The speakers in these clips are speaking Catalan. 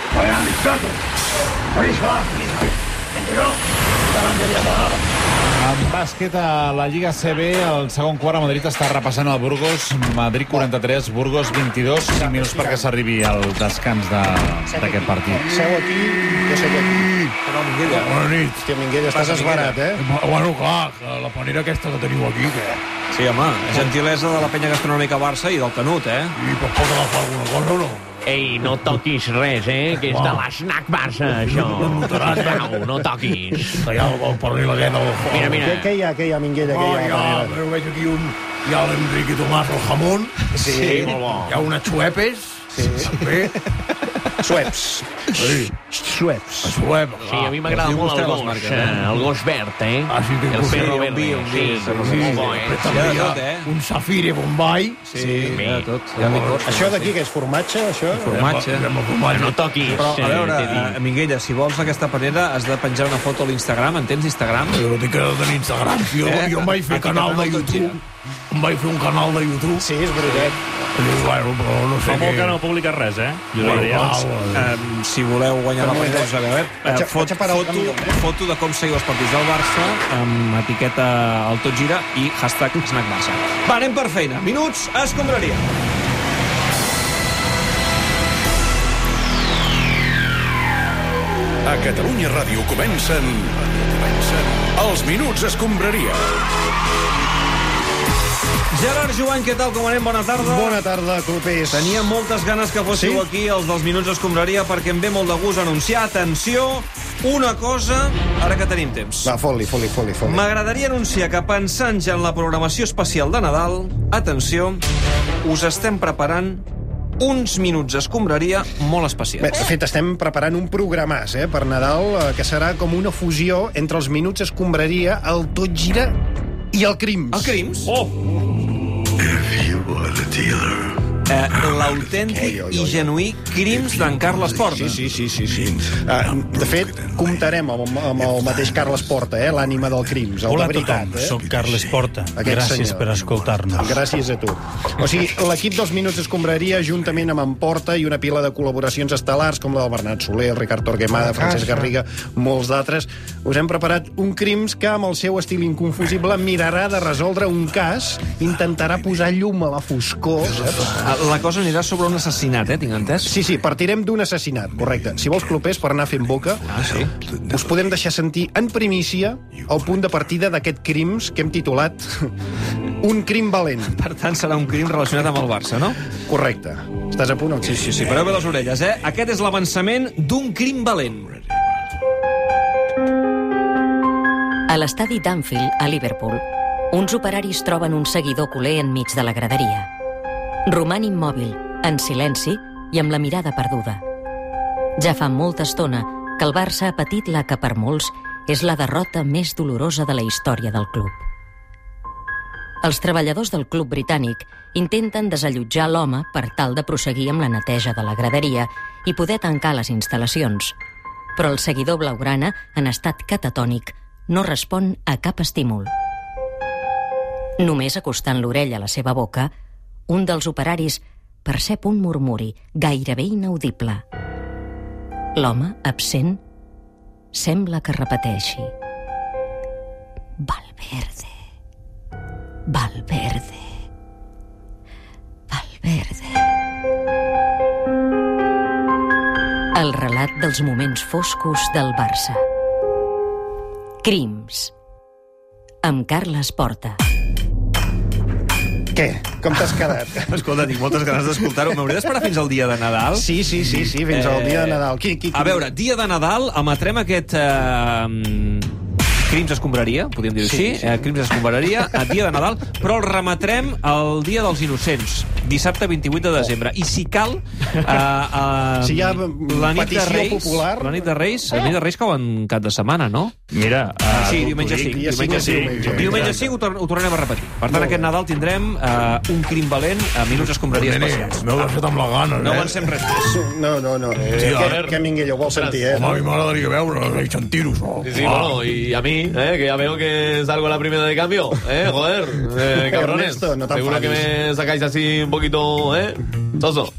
Alexander. En bàsquet a la Lliga CB, el segon quart a Madrid està repassant el Burgos. Madrid 43, Burgos 22, 5 minuts perquè s'arribi al descans de- d'aquest partit. Seu aquí, jo sóc aquí. Però, Minguella, bona nit. Hòstia, Minguella, estàs passa, esbarat, eh? Bueno, clar, que la panera aquesta que teniu aquí, que... Sí, home, gentilesa de la penya gastronòmica Barça i del Canut, eh? I per pot agafar alguna cosa o no? Ei, no toquis res, eh? Que és de l'esnac Barça, això. Sisplau, no toquis. Que hi ha eh? el, el Pernilaguer del... Mira, mira. Què, què hi ha, què hi ha, Minguella? Oh, què hi ja, ha, però veig aquí un... Hi ha l'Enric i Tomàs, el jamón. Sí, molt bo. Hi ha unes xuepes. Sí. També. Sueps. Sí, Sueps. la xuepa, Sí, a mi m'agrada molt el gos, eh? el gos verd, eh? Ah, sí, que el sí, perro un verde, dia, un sí, dia, sí, sí, molt bo, eh? Però també Hi ha de hi ha tot, eh? un safire Bombay. Sí, bé. hi ha de tot. Hi ha licors, Això d'aquí, que és formatge, això? Formatge. Anem a formatge. No toquis, Però, a veure, t'he dit. eh, Minguella, si vols aquesta panera has de penjar una foto a l'Instagram. En tens Instagram? Jo no tinc que tenir Instagram. Doncs Jo, Eh? jo em vaig fer Aquí canal de canal tot YouTube. Em vaig fer un canal de YouTube. Sí, és veritat. I dic, bueno, però no sé Fa molt què. que no publiques res, eh? Bueno, eh. Josep Arias. va, va. Um, si voleu guanyar la penya, us agafem. Vaig a- Eh, fot, vaig a parar el foto, camió, eh? foto de com seguiu els partits del Barça amb etiqueta al Tot Gira i hashtag Snack Barça. Va, anem per feina. Minuts, escombraria. A Catalunya Ràdio comencen... comencen Els Minuts Escombraria. Gerard Joan, què tal? Com anem? Bona tarda. Bona tarda, clubers. Tenia moltes ganes que fóssiu Sí? aquí els dels Minuts Escombraria perquè em ve molt de gust anunciar, atenció, una cosa, ara que tenim temps. Va, fot-li, fot-li, fot-li. Fot M'agradaria anunciar que pensant ja en la programació especial de Nadal, atenció, us estem preparant uns minuts escombraria molt Bé, especials. de fet, estem preparant un programàs eh, per Nadal eh, que serà com una fusió entre els minuts escombraria, el tot gira i el crims. El Crims, Oh! eh, l'autèntic i genuí Crims d'en Carles Porta. Sí, sí, sí, sí. sí. Uh, de fet, comptarem amb, amb el mateix Carles Porta, eh, l'ànima del Crims, el Hola de a tothom, veritat. Eh? sóc Carles Porta. Aquest Gràcies senyor. per escoltar-nos. Gràcies a tu. O sigui, l'equip dels Minuts Escombraria, juntament amb en Porta i una pila de col·laboracions estel·lars com la del Bernat Soler, el Ricard Torquemada, Francesc Garriga, molts d'altres, us hem preparat un crims que, amb el seu estil inconfusible, mirarà de resoldre un cas, intentarà posar llum a la foscor... Saps? Ah, La cosa anirà sobre un assassinat, eh, tinc entès? Sí, sí, partirem d'un assassinat, correcte. Si vols clopers per anar fent boca, ah, sí. us podem deixar sentir en primícia el punt de partida d'aquest crims que hem titulat Un crim valent. Per tant, serà un crim relacionat amb el Barça, no? Correcte. Estàs a punt o què? Sí, sí, sí, pareu bé les orelles, eh? Aquest és l'avançament d'un crim valent. A l'estadi d'Anfield, a Liverpool, uns operaris troben un seguidor culer enmig de la graderia. Roman immòbil, en silenci i amb la mirada perduda. Ja fa molta estona que el Barça ha patit la que per molts és la derrota més dolorosa de la història del club. Els treballadors del club britànic intenten desallotjar l'home per tal de prosseguir amb la neteja de la graderia i poder tancar les instal·lacions. Però el seguidor blaugrana, en estat catatònic, no respon a cap estímul. Només acostant l'orella a la seva boca, un dels operaris percep un murmuri gairebé inaudible. L'home, absent, sembla que repeteixi. Valverde. Valverde. Valverde. El relat dels moments foscos del Barça. Crims. Amb Carles Porta. Què? Com t'has quedat? Eh, Escolta, tinc moltes ganes d'escoltar-ho. M'hauré d'esperar fins al dia de Nadal? Eh, Sí, sí, sí, sí, fins al dia de Nadal. Qui, qui, qui? A veure, dia de Nadal, emetrem aquest... Eh, mm, Crims escombraria, podríem dir-ho sí, així, sí. Eh, Crims escombraria, a dia de Nadal, però el remetrem el dia dels innocents, dissabte 28 de desembre. I si cal, eh, eh, Si hi ha la nit de petició Reis, popular- la nit de Reis, la nit de Reis cau en cap de setmana, no? Ah, Mira, eh, sí, tu- diumenge tu dic. 5. dia cinc Diumenge és 5, diumenge. diumenge 5 ho, tor ho tornarem a repetir. Per tant, aquest Nadal tindrem eh, un crim valent a minuts escombraria Nene, especials. m'heu deixat amb la gana, No eh? avancem res més. No, no, no. Eh, Sí, a que, ver. que Minguello, vol sentir, eh? Home, a mi m'agradaria veure i sentir-ho, això. Sí, sí, bueno, y a mí, eh, que ya veo que salgo a la primera de cambio, eh, joder, eh, cabrones. Ernesto, no te Seguro que enfades. me sacáis así un poquito, eh, soso.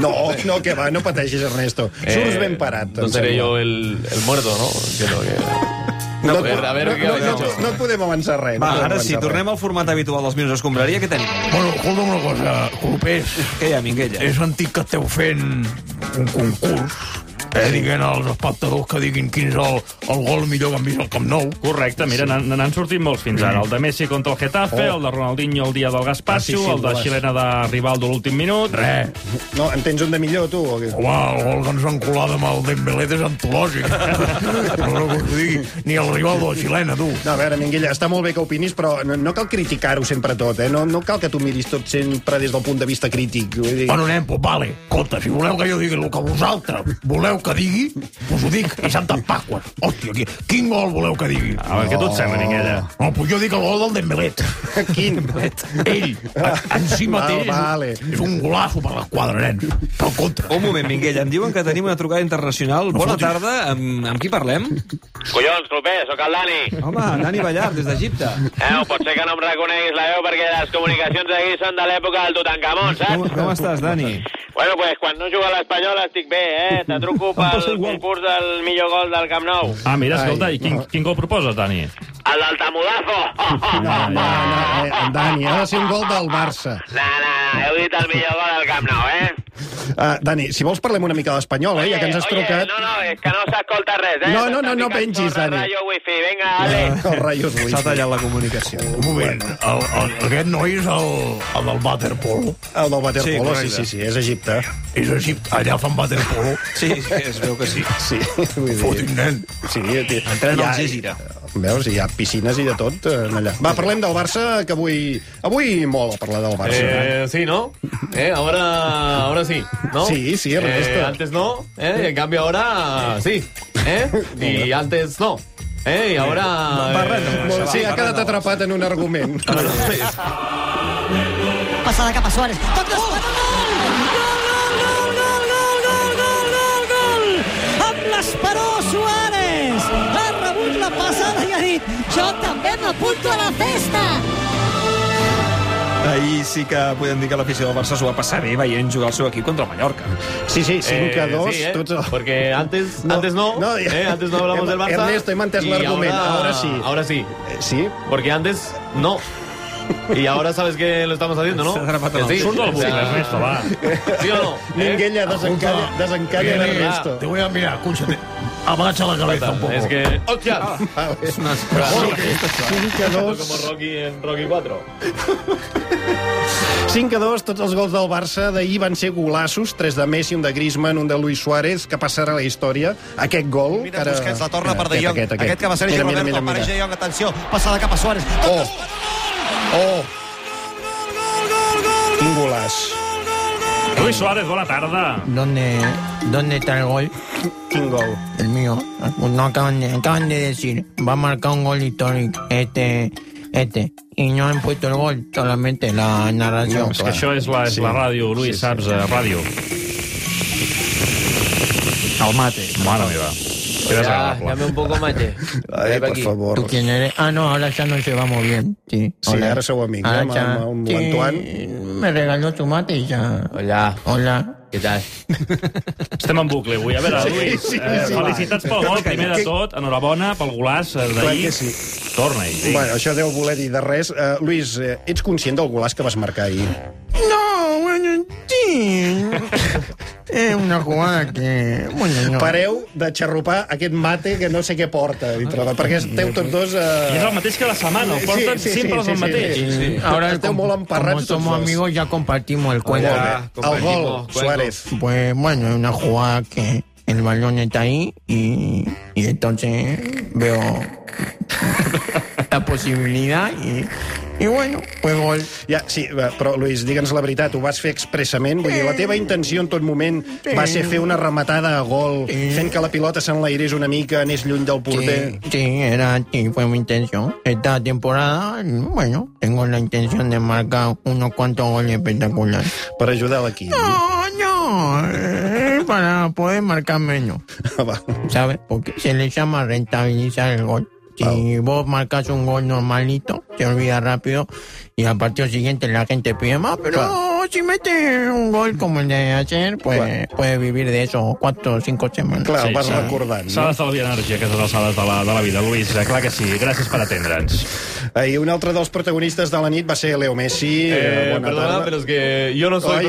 No, no, que va, no pateixis, Ernesto. Eh, Surts ben parat. em No seré sembla. yo el, el muerto, ¿no? Entiendo que... No, a ver, a ver no, qué no, habéis no, hecho. no et podem avançar res. no Va, podem ara sí, avançar tornem al format habitual dels minuts escombraria. Què tenim? Bueno, escolta'm una cosa, Clopés, Què hi ha, Minguella? he sentit que esteu fent un concurs, eh, diguent als espectadors que diguin quin és el, el gol millor que han vist al Camp Nou. Correcte, Ah, mira, n'han- n'han sortit molts fins ara. El de Messi contra el Getafe, Oh. el de Ronaldinho el dia del Gaspacho, Ah, sí, sí, el de golaç. Xilena de Rivaldo l'últim minut... Res. res. No, en tens un de millor, tu? O què? Home, el gol que ens han colat amb el Dembélé és antològic. Perdó que us ho digui, ni el rival de la xilena, tu. No, a veure, Minguella, està molt bé que opinis, però no, no cal criticar-ho sempre tot, eh? No, no cal que tu miris tot sempre des del punt de vista crític. Vull dir... Bueno, nen, pues vale. Escolta, si voleu que jo digui el que vosaltres voleu que digui, us ho dic, i Santa Pasqua. Hòstia, qui- quin gol voleu que digui? A veure, què tu et sembla, Minguella? No, pues jo dic el gol del Dembélé. Quin? Ell, en- en si mateix, Val, vale. és un golaço per l'esquadra, nen. Però contra. Un moment, Minguella, em diuen que tenim una trucada internacional. Bona fotis. tarda, amb, amb qui parlem? Collons, Clopé, sóc el Dani. Home, Dani Ballar, des d'Egipte. Eh, pot ser que no em reconeguis la veu perquè les comunicacions aquí són de l'època del Tutankamon, Com, saps? com estàs, Dani? Bueno, pues, quan no juga l'Espanyol estic bé, eh? Te truco Em pel concurs del millor gol del Camp Nou. Ah, mira, escolta, Ai, i quin, no. quin gol proposes, Dani? El del Tamudafo! Oh, oh, oh, No, no, no, oh. eh, en Dani, ha de ser un gol del Barça. No, no, no, heu dit el millor gol del Camp Nou, eh? Uh, Dani, si vols parlem una mica d'espanyol, eh, ja que ens has Oye, trucat... No, no, és que no s'escolta res, eh? No, no, no, no T'està picant pengis, sobre el Dani. Rayo wifi, vinga, Ah, ale. El Rayos Luis. S'ha tallat la comunicació. Un moment, el, el, aquest noi és el, el del waterpolo. El del Sí, waterpolo, sí, correcte. sí, sí, és Egipte. És a Egipte, allà fan waterpolo. Sí, es veu que sí. Sí, vull dir... Fotin, nen. Sí, té- Entrena hi ha- al Gègira. Veus, hi ha piscines i de tot eh, allà. Va, parlem del Barça, que avui... Avui molt a parlar del Barça. Eh, sí, ¿no? Eh, ahora, ahora sí, ¿no? Sí, sí, Ernesto. Eh, antes no, eh, en cambio ahora sí, ¿eh? Y antes no, ¿eh? Y ahora... eh, Molt- sí, ha quedat atrapat en un argument. Pasada cap a Suárez. Toc de Suárez. Gol, gol, gol, gol, gol, gol, gol, gol, gol. Amb l'esperó Suárez. Ha rebut la passada i ha dit jo també m'apunto a la festa. Ahir sí que podem dir que l'afició del Barça s'ho va passar bé veient jugar el seu equip contra el Mallorca. Sí, sí, 5 a Eh, 2, sí, eh, tots... el- Porque antes No, no, antes no, no, eh, antes no hablamos Hem- del Barça. Ernesto, hem entès Y l'argument, ahora sí. Eh, Ahora sí, Sí? porque antes no. Y ahora sabes que lo estamos haciendo, ¿no? Se ha atrapado Que el sí. Surt del o bucle, sea, Ernesto, va. ¿Sí o no? ¿Eh? Minguella desencalla, desencalla Viene, l'Ernesto. Te voy a mirar, escúchate. Agacha la cabeza un poco. Es que... ¡Hostia! Ah, Cinc a Como 2, Rocky en Rocky 4. 5 a 2, tots els gols del Barça d'ahir van ser golaços, 3 de Messi, un de Griezmann, un de Luis Suárez, que passarà a la història. Aquest gol... Mira, ara... Busquets la torna Mira, per De Jong. Aquest, aquest, aquest. que va ser Sergio Roberto, mira, mira. per De Jong, atenció, passada cap a Suárez. Oh. Oh, quin golaç. Luis Suárez, bona tarda. ¿Dónde, ¿Dónde está el gol? Quin gol. El mío. No acaban de, acaban de decir, va a marcar un gol histórico. Este, este. Y no han puesto el gol, solamente la narración. No, Que això és la, és la ràdio, Luis, saps? eh, Ràdio. El mate. Mare meva. Que desagradable. Ah, un poco mate. Ai, per favor. ¿Tú quién eres? Ah, no, ahora ya no llevamos bien. Sí, Sí, ahora somos amigos, ¿no? Ma- ma- Sí, Antoine. Me regaló tu mate y ya. Hola, Hola. què tal? Estem en bucle avui. A veure, Luis, sí, eh, sí. felicitats pel gol, primer de Que- tot. Enhorabona pel golaç eh, Clar d'ahir. que sí. Torna-hi. sí. Bueno, això deu voler dir de res. Uh, Luis, eh, ets conscient del golaç que vas marcar ahir? No, bueno, sí. Es Eh, una jugada que... Bueno, no. Pareu de xarrupar aquest mate que no sé què porta, dintre, de- perquè esteu tots dos... I és Uh... el mateix que la setmana, el porten Sí, sí, sí, sempre els sí, el sí, mateix. Y Ahora Ahora, esteu com- molt como emparrats tots somos dos. amigos, ya compartimos el cuento. El pues. gol, Suárez. Pues bueno, es una jugada que el balón está ahí y, y entonces veo... la posibilidad y, y bueno, fue gol. Ja, sí, va, però, Luis, digue'ns la veritat, ho vas fer expressament? Vull dir, la teva intenció en tot moment Sí. va ser fer una rematada a gol, fent que la pilota s'enlairés una mica, anés lluny del porter... Sí, sí, era sí, fue mi intención. Esta temporada, bueno, tengo la intención de marcar unos cuantos goles espectaculares. Para ayudar al equipo. No, no, eh, para poder marcar menos. va. ¿Sabes? Porque se le llama rentabilizar el gol. Si vos marcas un gol normalito, se olvida rápido y al partido siguiente la gente pide más, pero si mete un gol como el de ayer, pues puede vivir de eso cuatro o cinco semanas. ¿sabes? S'ha d'estalviar energia a aquestes alçades de la, de la vida, Luis. Eh, Clar que sí. Gràcies per atendre'ns. I un altre dels protagonistes de la nit va ser Leo Messi. Eh, bona perdona, tarda. pero es que yo no soy Ai, ai,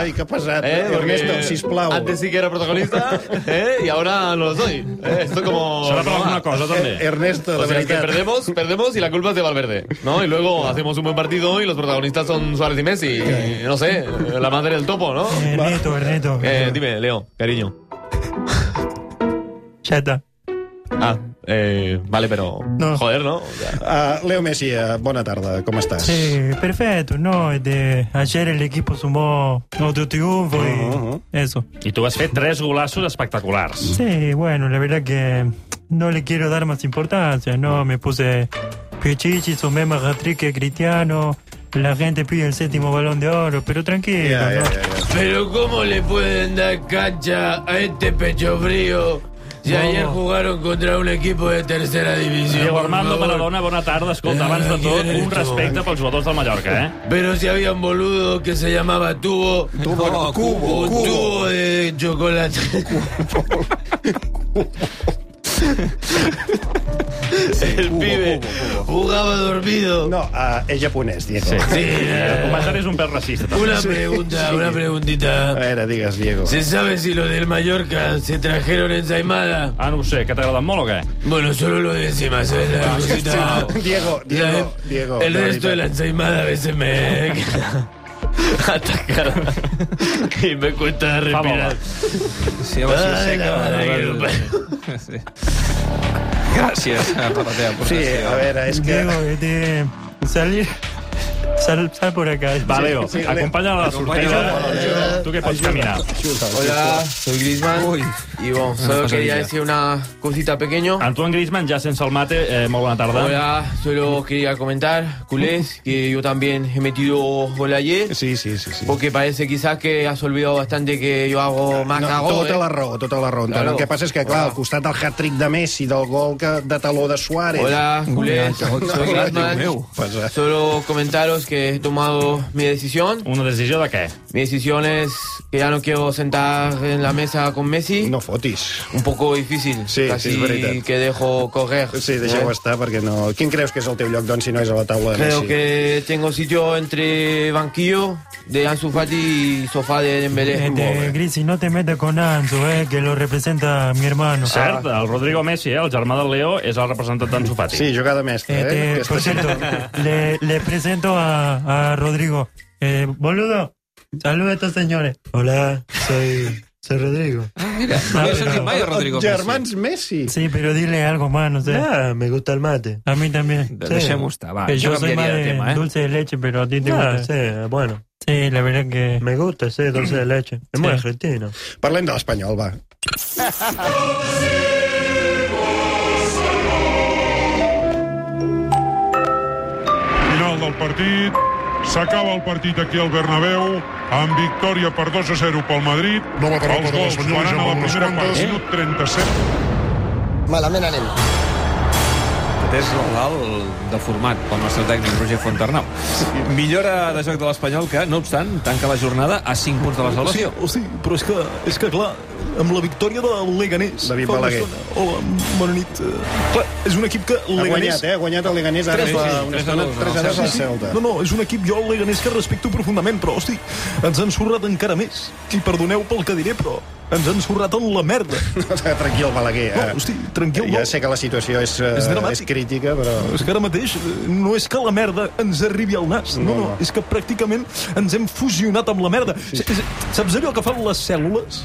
ai, ai, que pesat. Eh, porque Ernesto, sisplau. Antes sí que era protagonista eh, y ahora no lo soy. Eh, esto como... Será por no alguna va. cosa, ¿dónde? Eh, Ernesto, O de sea, es que verdad. perdemos, perdemos y la culpa es de Valverde. ¿no? Y luego hacemos un buen partido y los protagonistas son Suárez y Messi. Y, no sé, la madre del topo, ¿no? Ernesto, Ernesto. Eh, dime, Leo, cariño. Ya está. Ah, eh, vale, pero... Joder, ¿no? Uh, Leo Messi, eh, bona tarda, com estàs? Sí, perfecto, ¿no? De, ayer el equipo sumó otro triunfo y Uh-huh. eso. I tu has fet tres golaços espectaculars. Sí, bueno, la verdad que no le quiero dar más importancia, ¿no? Me puse Pichichi, sumé más hat-trick que Cristiano, la gente pide el séptimo balón de oro, pero tranquilo, ¿no? Pero ¿cómo le pueden dar cancha a este pecho frío si ayer jugaron contra un equipo de tercera división? Diego por Armando favor? Maradona, bona tarda. Escolta, abans de tot, un respecte pels jugadors del Mallorca, eh? Pero si había un boludo que se llamaba Tubo. Tubo, cubo, un tubo de chocolate. El pibe jugaba dormido. eh. No, uh, és japonès, Diego. eh, Sí. eh, sí. El comentari és un pèl racista. també. Una pregunta, una preguntita. A veure, digues, Diego. ¿Se sabe si los del Mallorca se trajeron ensaimada? Ah, no sé, ¿qué te agradan molo o qué? Ah, Bueno, solo lo de encima, ¿sabes? La cosita- Diego, Diego, La- Diego. El de resto de la ensaimada a veces me ataca y me cuesta respirar. Sí, home, sí, Ai, sé que... la mare que el va- Sí. Gràcies eh, per la teva aportació. Diego, este, salir... Sal, sal por acá. Va, Leo, acompanya a la sortida. Tu que pots caminar. Hola, soy Griezmann. Y bueno, solo quería decir una cosita pequeño. Antoine Griezmann, ya sense el mate, eh, molt bona tarda. Hola, solo quería comentar, culés, que yo también he metido gol ayer. Sí, sí, sí. sí. Porque parece quizás que has olvidado bastante que yo hago más a No, gol. tota eh. la raó, tota la raó. Claro. Claro. El que passa és que, clar, al costat del hat-trick de Messi, del gol que, de taló de Suárez... Hola, culés, soy Griezmann. Pasa. Solo comentaros que he tomado mi decisión. ¿Una decisión de qué? Mi decisión es que ya no quiero sentar en la mesa con Messi. No fotis. Un poco difícil. Sí, casi és veritat. que dejo correr. Sí, deixeu ¿no? estar, perquè no... Quin creus que és el teu lloc, doncs, si no és a la taula de Creo Messi? que tengo sitio entre banquillo de Ansu Fati y sofá de Dembélé. Este, Grisi, no te metas con Anzu, eh, que lo representa mi hermano. Cert, el Rodrigo Messi, eh, el germà del Leo, és el representant d'Ansu Fati. Ah. Sí, jugada mestra, Este, eh? por cierto, le, le presento a, a Rodrigo. Eh, boludo, saluda a estos señores. Hola, soy, soy Rodrigo. Mira, Ah, no sentit però- mai el Rodrigo Messi. Messi. Sí, pero dile algo más, no sé. Ah, me gusta el mate. A mí también. De- sí. deixem-ho estar, va. Que Jo yo soy canviaria más de de tema, eh? dulce de leche, pero a ti te Ah, gusta. sí, bueno. Sí, la verdad que... Me gusta, sí, dulce de leche. Es muy Sí. argentino. Parlem de l'Espanyol, va. Final del partit. S'acaba el partit aquí al Bernabéu amb victòria per 2 a 0 pel Madrid. Nova derrota Els de gols l'Espanyol, faran ja a la van uns primera part, quantes. minut 37. Malament anem. Aquest és l'oral deformat pel nostre tècnic Roger Fontarnau. Millora de joc de l'Espanyol que, no obstant, tanca la jornada a 5 punts de la Sí, salvació. o sigui, però és que, és que clar, amb la victòria de Leganés... David fa una Balaguer. estona- Hola, bona nit. Eh, Clar, és un equip que Ha Leganés... guanyat, eh? Ha guanyat el Leganés ara Tres fa a- una tres a estona, dos, tres a dos no? al Sí, sí. Celta. No, no, és un equip, jo el Leganés, que respecto profundament, però, hosti, ens han sorrat encara més. I perdoneu pel que diré, però ens han sorrat en la merda. Tranquil, Balaguer. eh? No, hosti, tranquil, no. Ja sé que la situació és, eh, És dramàtic. és crítica, però... És que ara mateix eh, no és que la merda ens arribi al nas, no, no, és que pràcticament ens hem fusionat amb la merda. Sí. Saps allò que fan les cèl·lules?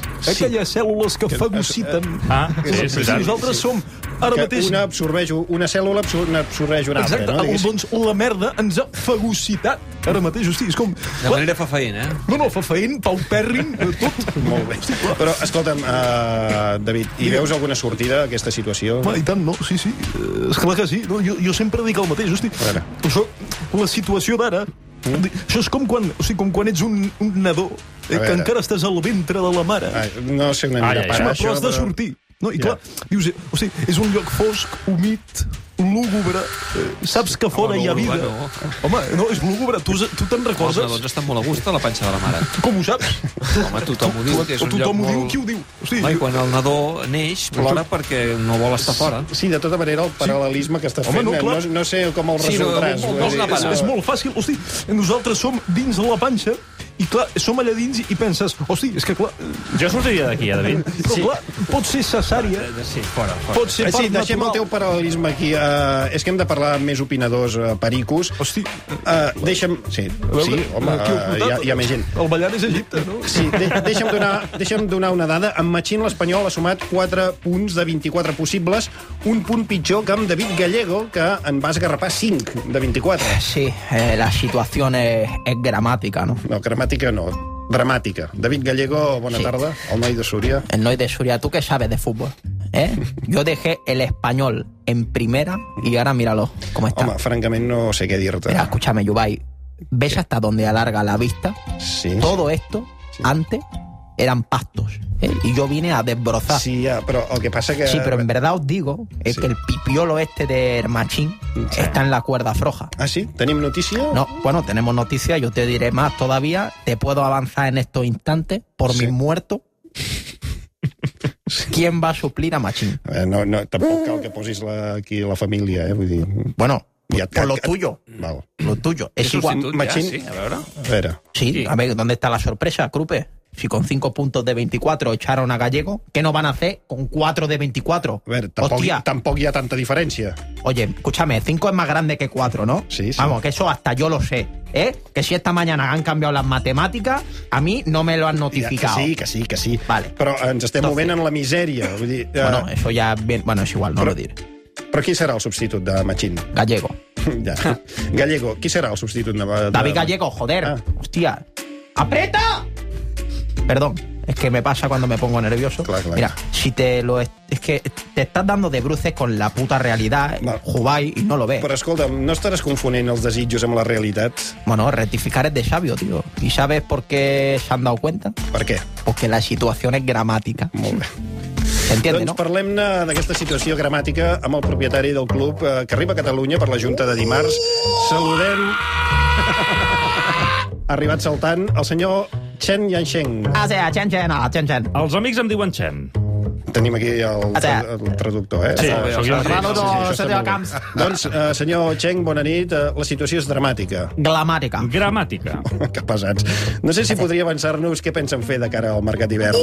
Sí. eh, Aquelles cèl·lules que fagociten. Ah, sí, és veritat. Nosaltres som Ara que mateix- una absorbeix u- una cèl·lula, absor absorbeix una altra, Exacte, no? Diguéssim. doncs la merda ens ha fagocitat ara mateix, hosti, és com... De manera fafaent, eh? No, no, fafaent, Pau Perrin, eh, tot. Molt bé. Però, escolta'm, uh, David, hi veus alguna sortida a aquesta situació? Home, i tant, no, sí, sí, eh, esclar que sí. No, jo, jo sempre dic el mateix, hosti. Això, la situació d'ara, Mm. di- això és com quan, o sigui, com quan ets un, un nadó, eh, A que veure. encara estàs al ventre de la mare. Ai, no sé una mica Ai, parar, home, això, però has de però- sortir. No, i Ja. clar, dius, eh, o sigui, és un lloc fosc, humit, lúgubre, eh, saps que fora Home, hi ha lúgubre, vida. Home, no, és lúgubre, tu, tu te'n Els recordes? nadons estan molt a gust a la panxa de la mare. Com ho saps? Home, tothom ho diu, que és un lloc Tothom ho molt... diu, qui ho diu? Hosti, Home, i quan el nadó neix, plora perquè no vol estar fora. Sí, de tota manera, el paral·lelisme que estàs Home, fent, no, no, clar. no, sé com el resoldràs. no, vull no, dir, no, és, és molt fàcil. Hosti, nosaltres som dins la panxa i, clar, som allà dins i penses, hosti, és que, clar... eh, Jo sortiria d'aquí, eh, David. Però, Sí. clar, pot ser cesària. Sí, fora, fora. Pot ser Eh, Sí, part deixem el natural. teu paral·lelisme aquí. Uh, és que hem de parlar amb més opinadors uh, pericos. Hosti. Uh, deixa'm... Sí, sí home, Aquí al uh, costat, hi, ha, hi ha més gent. El ballar és Egipte, no? Sí, de deixa'm, donar, deixa'm donar una dada. En Machín, l'Espanyol ha sumat 4 punts de 24 possibles, un punt pitjor que amb David Gallego, que en va esgarrapar 5 de 24. Sí, eh, la situación es, es gramática, ¿no? No, gramàtica no, dramàtica. David Gallego, bona sí. tarda, el noi de Súria. El Noy de Suria, ¿tú qué sabes de fútbol? ¿Eh? Yo dejé el español en primera y ahora míralo, cómo está. Home, francament no sé què dir-te. Mira, escúchame, Yubay, ¿ves hasta dónde alarga la vista? Sí. Todo esto, antes, eran pastos. ¿eh? Y yo vine a desbrozar. Sí, ya, pero lo que pasa que... Sí, pero en verdad os digo es que el pipiolo este de Machín está en la cuerda floja. ¿Ah, sí? ¿Tenéis noticia? No, bueno, tenemos noticia, yo te diré más todavía. Te puedo avanzar en estos instantes por mis muertos. ¿Quién va a suplir a Machín? Eh, No, no, tampoc cal que posis la, aquí la família, eh? Vull dir... Bueno, ja, por lo tuyo. Val. Lo tuyo. Es igual. A veure... Sí, a ver, ¿dónde está la sorpresa, Crupe? Si con 5 puntos de 24 echaron a Gallego, ¿qué no van a hacer con 4 de 24? A ver, tampoco, Hostia. tampoco ya tanta diferencia. Oye, escúchame, 5 es más grande que 4, ¿no? Sí, sí. Vamos, que eso hasta yo lo sé, ¿eh? Que si esta mañana han cambiado las matemáticas, a mí no me lo han notificado. Ja, que sí, que sí, que sí. Vale. Però ens estem Entonces- movent en la misèria. Vull dir, eh, Bueno, eso ya es bien... Bueno, es igual, no Pero- lo diré. Però qui serà el substitut de Machín? Gallego. Ja. Gallego, qui serà el substitut de... de... David Gallego, joder. Ah. Hostia. ¡Aprieta! Perdón, es que me pasa cuando me pongo nervioso. Mira, si te lo... Es, es que te estás dando de bruces con la puta realidad, jugáis y no lo ves. Però escolta'm, no estaràs confonent els desitjos amb la realitat? Bueno, rectificar es de sabio, tío. ¿Y sabes por qué se han dado cuenta? ¿Por qué? Porque la situación es gramática. ¿Se entiende, doncs no? parlem-ne d'aquesta situació gramàtica amb el propietari del club eh, que arriba a Catalunya per la Junta de dimarts. Saludem... ha arribat saltant el senyor Chen Yansheng. Ah, sí, a Chen Chen, a Chen Chen. Els amics em diuen Chen. Tenim aquí el, Ah, sí. el traductor, eh? Sí, Està- sóc jo, està- sí. Saludo, això està senyor molt bé. Camps. Doncs, eh, senyor Cheng, bona nit. Eh, La situació és dramàtica. Gramàtica. Gramàtica. Que pesats. No sé si podria avançar-nos què pensen fer de cara al mercat d'hivern.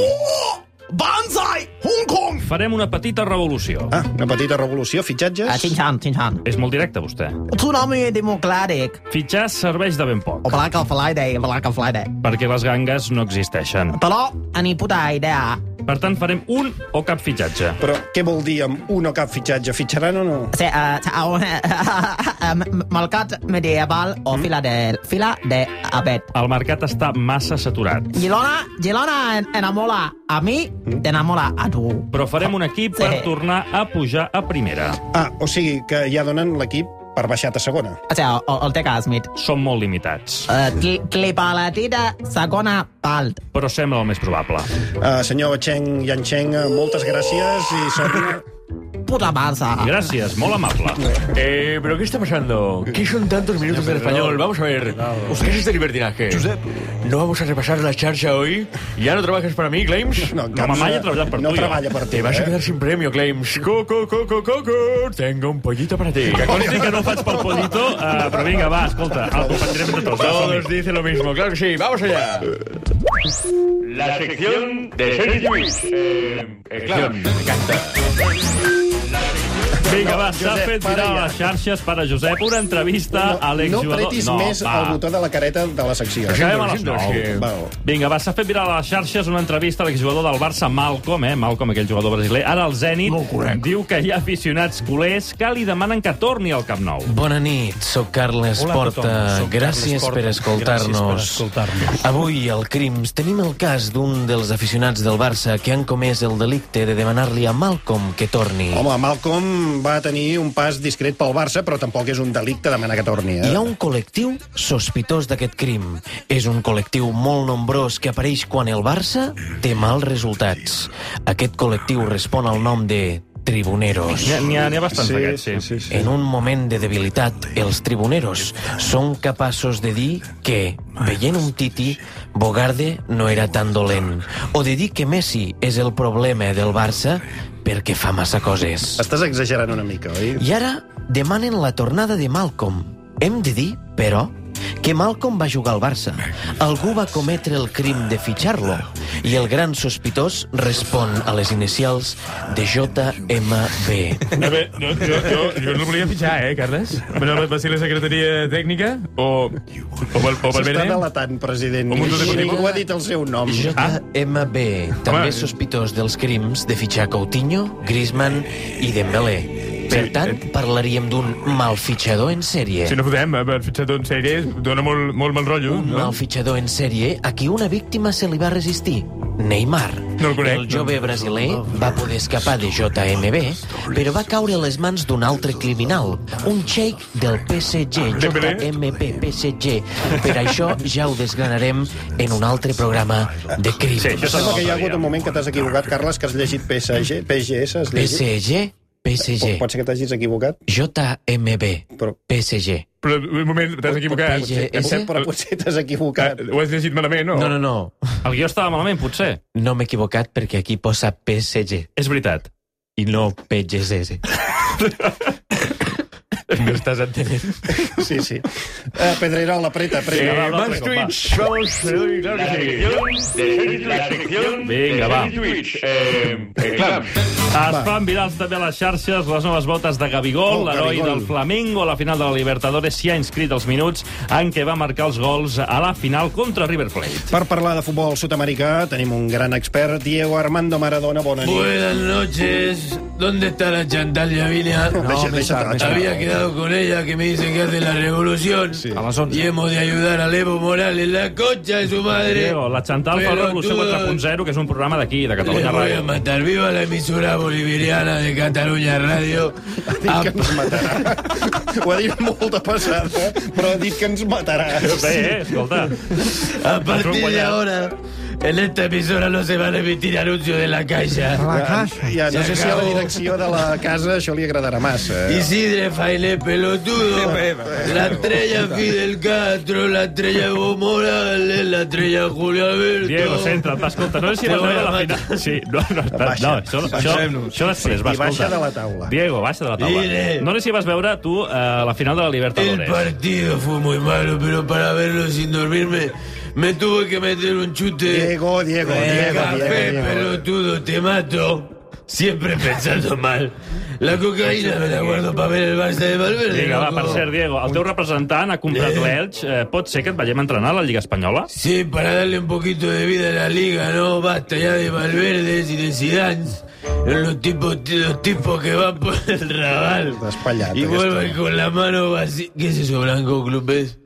Banzai! Hong Kong! Farem una petita revolució. Ah, una petita revolució. Fitxatges? A Chen Chen, Chen Chen. És molt directe, vostè. Tsunami democràtic. Fitxar serveix de ben poc, O Black of Friday, Black of Friday. perquè les gangues no existeixen. Però, a ni puta idea. Per tant, farem un o cap fitxatge. Però què vol dir amb un o cap fitxatge? Fitxaran o no? Sí, eh, a un, mercat medieval Mm. o fila de, fila de Abet. El mercat està massa saturat. Girona, Girona en- enamola a mi, Mm. t'enamola a tu. Però farem un equip per tornar a pujar a primera. Ah, o sigui que ja donen l'equip per baixat a segona. O sigui, el, el TK Smith. Som molt limitats. Eh, cl- clipa la tira, segona part. Però sembla el més probable. Uh, senyor Cheng Yancheng, eh, moltes gràcies i sort. Puta massa. Gràcies, molt amable. Eh, pero ¿qué está pasando? ¿Qué son tantos minutos del español? Vamos a ver. ¿Qué es este libertinaje? ¿No vamos a repasar la charcha hoy? ¿Ya no trabajas para mí, Claims? No, Camps, Mamaya trabaja para no tuyo. trabaja para ti, Te vas eh? a quedar sin premio, Claims. Coco, coco, coco. Tengo un pollito para ti. Que conste que no faig pel pollito, eh, però vinga, va, escolta, el compartirem entre tots. va, som-hi. Todos dicen lo mismo, claro que sí. ¡Vamos allá! La sección de Sergi Lluís. Eh, claro, me encanta. Vinga, No, va, s'ha Josep, fet para viral ja. a les xarxes per a Josep una entrevista a no l'exjugador... pretis més va. el botó de la careta de la secció. Acabem a les Val. 9. Vinga, va, s'ha fet viral a les xarxes una entrevista a l'exjugador del Barça, Malcom, eh? Malcom, aquell jugador brasiler. Ara el Zenit diu que hi ha aficionats culers que li demanen que torni al Camp Nou. Bona nit, sóc Carles Hola a Porta. tothom, sóc Gràcies, Carles Porta. Per Gràcies escoltar-nos. per escoltar-nos. Avui, al Crims, tenim el cas d'un dels aficionats del Barça que han comès el delicte de demanar-li a Malcolm que torni. Home, Malcolm va tenir un pas discret pel Barça, però tampoc és un delicte demanar que torni. Eh? Hi ha un col·lectiu sospitós d'aquest crim. És un col·lectiu molt nombrós que apareix quan el Barça té mals resultats. Aquest col·lectiu respon al nom de tribuneros. N'hi ha- n'hi ha- n'hi ha bastants Sí, d'aquests, sí. sí, sí. En un moment de debilitat, els tribuneros són capaços de dir que, veient un Titi, Bogarde no era tan dolent. O de dir que Messi és el problema del Barça perquè fa massa coses. Estàs exagerant una mica, oi? I ara demanen la tornada de Malcolm. Hem de dir, però, que Malcolm va jugar al Barça. Algú va cometre el crim de fitxar-lo i el gran sospitós respon a les inicials de JMB. A ver, yo, yo, yo, yo no volia fitxar, eh, Carles? Bueno, va ser la secretaria tècnica o... O, Val- o S'està Valverde? delatant, president. Un mundo I deportivo. ningú ha dit el seu nom. JMB, també Home. sospitós dels crims de fitxar Coutinho, Griezmann i Dembélé. Per tant, parlaríem d'un mal fitxador en sèrie. eh. Si no fotem, eh, per fitxar tot en sèrie, dona molt, molt mal rotllo. Un mal fitxador en sèrie a qui una víctima se li va resistir, Neymar. No el conec. El jove brasiler va poder escapar de JMB, però va caure a les mans d'un altre criminal, un xeic del PSG, JMP, PSG. Per això ja ho desgranarem en un altre programa de crims. Sí, això sembla que hi ha hagut un moment que t'has equivocat, Carles, que has llegit PSG, PGS, has llegit? PSG, PSG. Pot, pot ser que t'hagis equivocat? JMB, PSG. Però, un moment, t'has equivocat. Ah, PGS? Però potser t'has equivocat. Ho has llegit malament, no? No, no, no. El guió estava malament, potser. No m'he equivocat perquè aquí posa PSG. És veritat. I no PGSS. M'estàs entenent? Sí, sí. Uh, Pedrerol, apreta, apreta. Eh, Va, va, más apreta, va. Twitch, vamos. eh, claro que sí. La sección de Vinga, va. Twitch. Eh, eh, claro. Es fan virals també a les xarxes les noves botes de Gabigol, Oh, l'heroi Gabigol. del Flamengo a la final de la Libertadores s'hi ha inscrit els minuts en què va marcar els gols a la final contra River Plate. Per parlar de futbol sud-americà tenim un gran expert, Diego Armando Maradona. Bona nit. Buenas noches. ¿Dónde está la Chantal Yavinia? No, Deja- me deja- está- Había está- quedado con ella que me dice que hace la revolución. Y hemos de ayudar a Evo Morales, la concha de su madre. Diego, la Chantal fa Pelotudo. Revolució 4.0, que és un programa d'aquí, de Le Catalunya voy a Ràdio. matar viva la emisora boliviana de Cataluña Radio. Ho ha dit molt de passada, però ha dit que ens matarà. Bé, escolta. A partir de ahora, en esta emisora no se va a emitir anuncios de la caixa. Ja, no Se sé si a la acabó. direcció de la casa això li agradarà massa. Isidre Faile, pelotudo. La estrella Fidel Castro, la estrella Evo Morales, la estrella Julio Alberto. Diego, centra't, va, escolta, no sé si Te vas voy veure a la matar. final... Sí, no, no, espera, Baixa, no, això, això, baixem-nos. això després, va, I baixa escolta. de la taula. Diego, baixa de la taula. Dile. No sé si vas veure tu eh, la final de la El Libertadores. partido fue muy malo, pero para verlo sin dormirme me tuve que meter un chute. Diego, Diego, de Diego, café, Diego, Diego. pelotudo, te mato. Siempre pensando mal. La cocaína me la guardo para ver el Barça de Valverde. Vinga, va, loco. per cert, Diego, el teu representant ha comprat l'Elx. Eh, pot ser que et veiem entrenar a la Lliga Espanyola? Sí, para darle un poquito de vida a la liga, ¿no? Basta ya de Valverde y de Zidane. Los tipos, los tipos que van por el rabal. Despallat. Y aquest vuelven home. con la mano vacía. ¿Qué es eso, Blanco Clubes?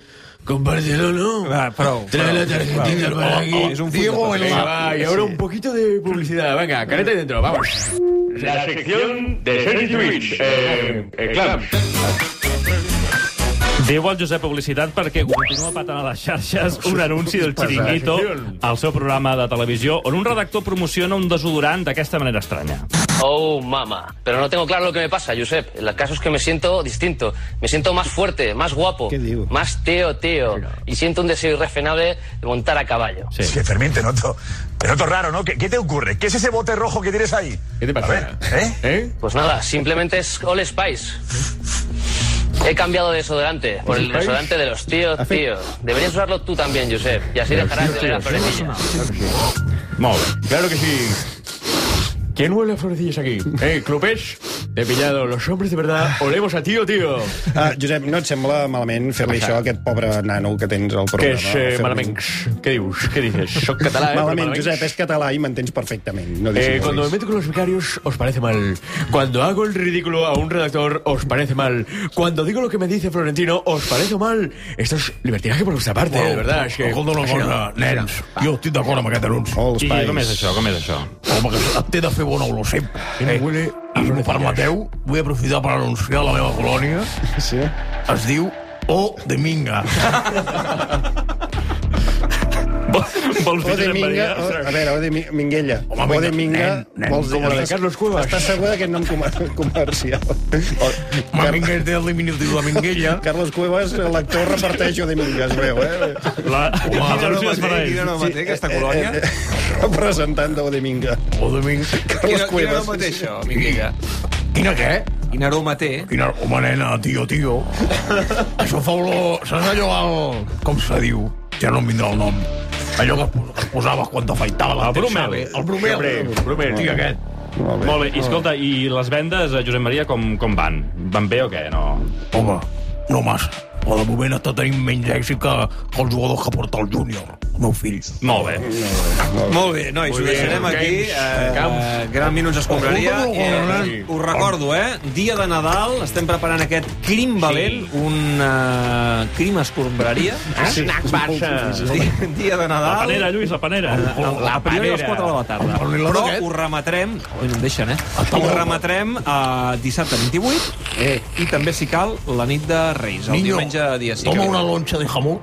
Compártelo, ¿no? Ah, Trae la tarjetita Prou. para aquí. Oh, oh, Diego, el va, Ah, y ahora un poquito de publicidad. Venga, careta y dentro, vamos. La sección de Sergi Twitch. Eh, eh, claro. Diu el Josep Publicitat perquè continua patant a les xarxes un anunci del Chiringuito al seu programa de televisió on un redactor promociona un desodorant d'aquesta manera estranya. Oh, mama. Pero no tengo claro lo que me pasa, Josep. El caso es que me siento distinto. Me siento más fuerte, más guapo, más tío, tío. Y siento un deseo irrefrenable de montar a caballo. Sí, Fermín, te noto, te noto raro, ¿no? ¿Qué, qué te ocurre? ¿Qué es ese bote rojo que tienes ahí? ¿Qué te pasa? ¿eh? Pues nada, simplemente es All Spice. He cambiado de desodorante por el Spice? desodorante de los tíos, tío. Deberías usarlo tú también, Josep. Y así dejarás de oler a florecilla. Molt bé. Claro que sí. ¿Quién huele a florecillas aquí? Eh, clubes, te he pillado. Los hombres de verdad olemos a tío, tío. Ah, Josep, no et sembla malament fer-li això a aquest pobre nano que tens al programa? Que és eh, Fer-li- malament. Què dius? Què dices? Soc català, eh? però malament, malament. Josep, és català i m'entens perfectament. No Eh, dissimulis. cuando me meto con los becarios, os parece mal. Cuando hago el ridículo a un redactor, os parece mal. Cuando digo lo que me dice Florentino, os parece mal. Esto es libertinaje por vuestra parte, de verdad. Es que... Escolta una Així no. cosa, nens, jo estic d'acord amb aquest anunci. Molts I com és això, com és això? Home, que té de fer bon olor sempre. Eh, I si m'ho permeteu, vull aprofitar per anunciar la meva colònia. Sí. Es diu O de Minga. O de Minga, o, a veure, o de Mi- Minguella. eh. Home, o de vinga, Minga, nen, nen, vols dir... com la de estàs- Carlos Cuevas. Estàs segur que no em comer- comercial? Ma Minga és del diminutiu de Minguella. Carlos Cuevas, l'actor, reparteix o de Minga, es veu, eh? La... Quina Home, no novetat, mateix, quina novetat, sí, aquesta eh, eh, colònia. eh, Representant de Odeminga. Odeminga. Carles Cuevas. Minguella? Quina què? Quina aroma té? Quina aroma, nena, tio, tio. Això fa olor... Saps allò al... Com se diu? Ja no em vindrà el nom. Allò que es pos- que es posaves quan t'afaitava la El bromel. El bromel. Sempre, bromel. Tinc aquest. Molt bé. Molt bé. I escolta, i les vendes, eh, Josep Maria, com, com van? Van bé o què? No. Home, no massa. Però de moment està tenint menys èxit que, que els jugadors que porta el júnior, el meu fill. Molt bé. Molt bé, nois, ho deixarem aquí. Eh, gran minuts escombraria. Eh, us recordo, eh? Dia de Nadal, estem preparant aquest crim valent, un eh, crim escombraria. Eh? eh, Sí. Snack bar. Dia, Ah, dia de La Nadal. panera, Lluís, la panera. A priori a les 4 de la tarda. Però ho remetrem... Ui, no em deixen, eh? Ho remetrem eh, dissabte 28 i també, si cal, la nit de Reis, el Niño, diumenge dia 5. Toma una lonxa de jamón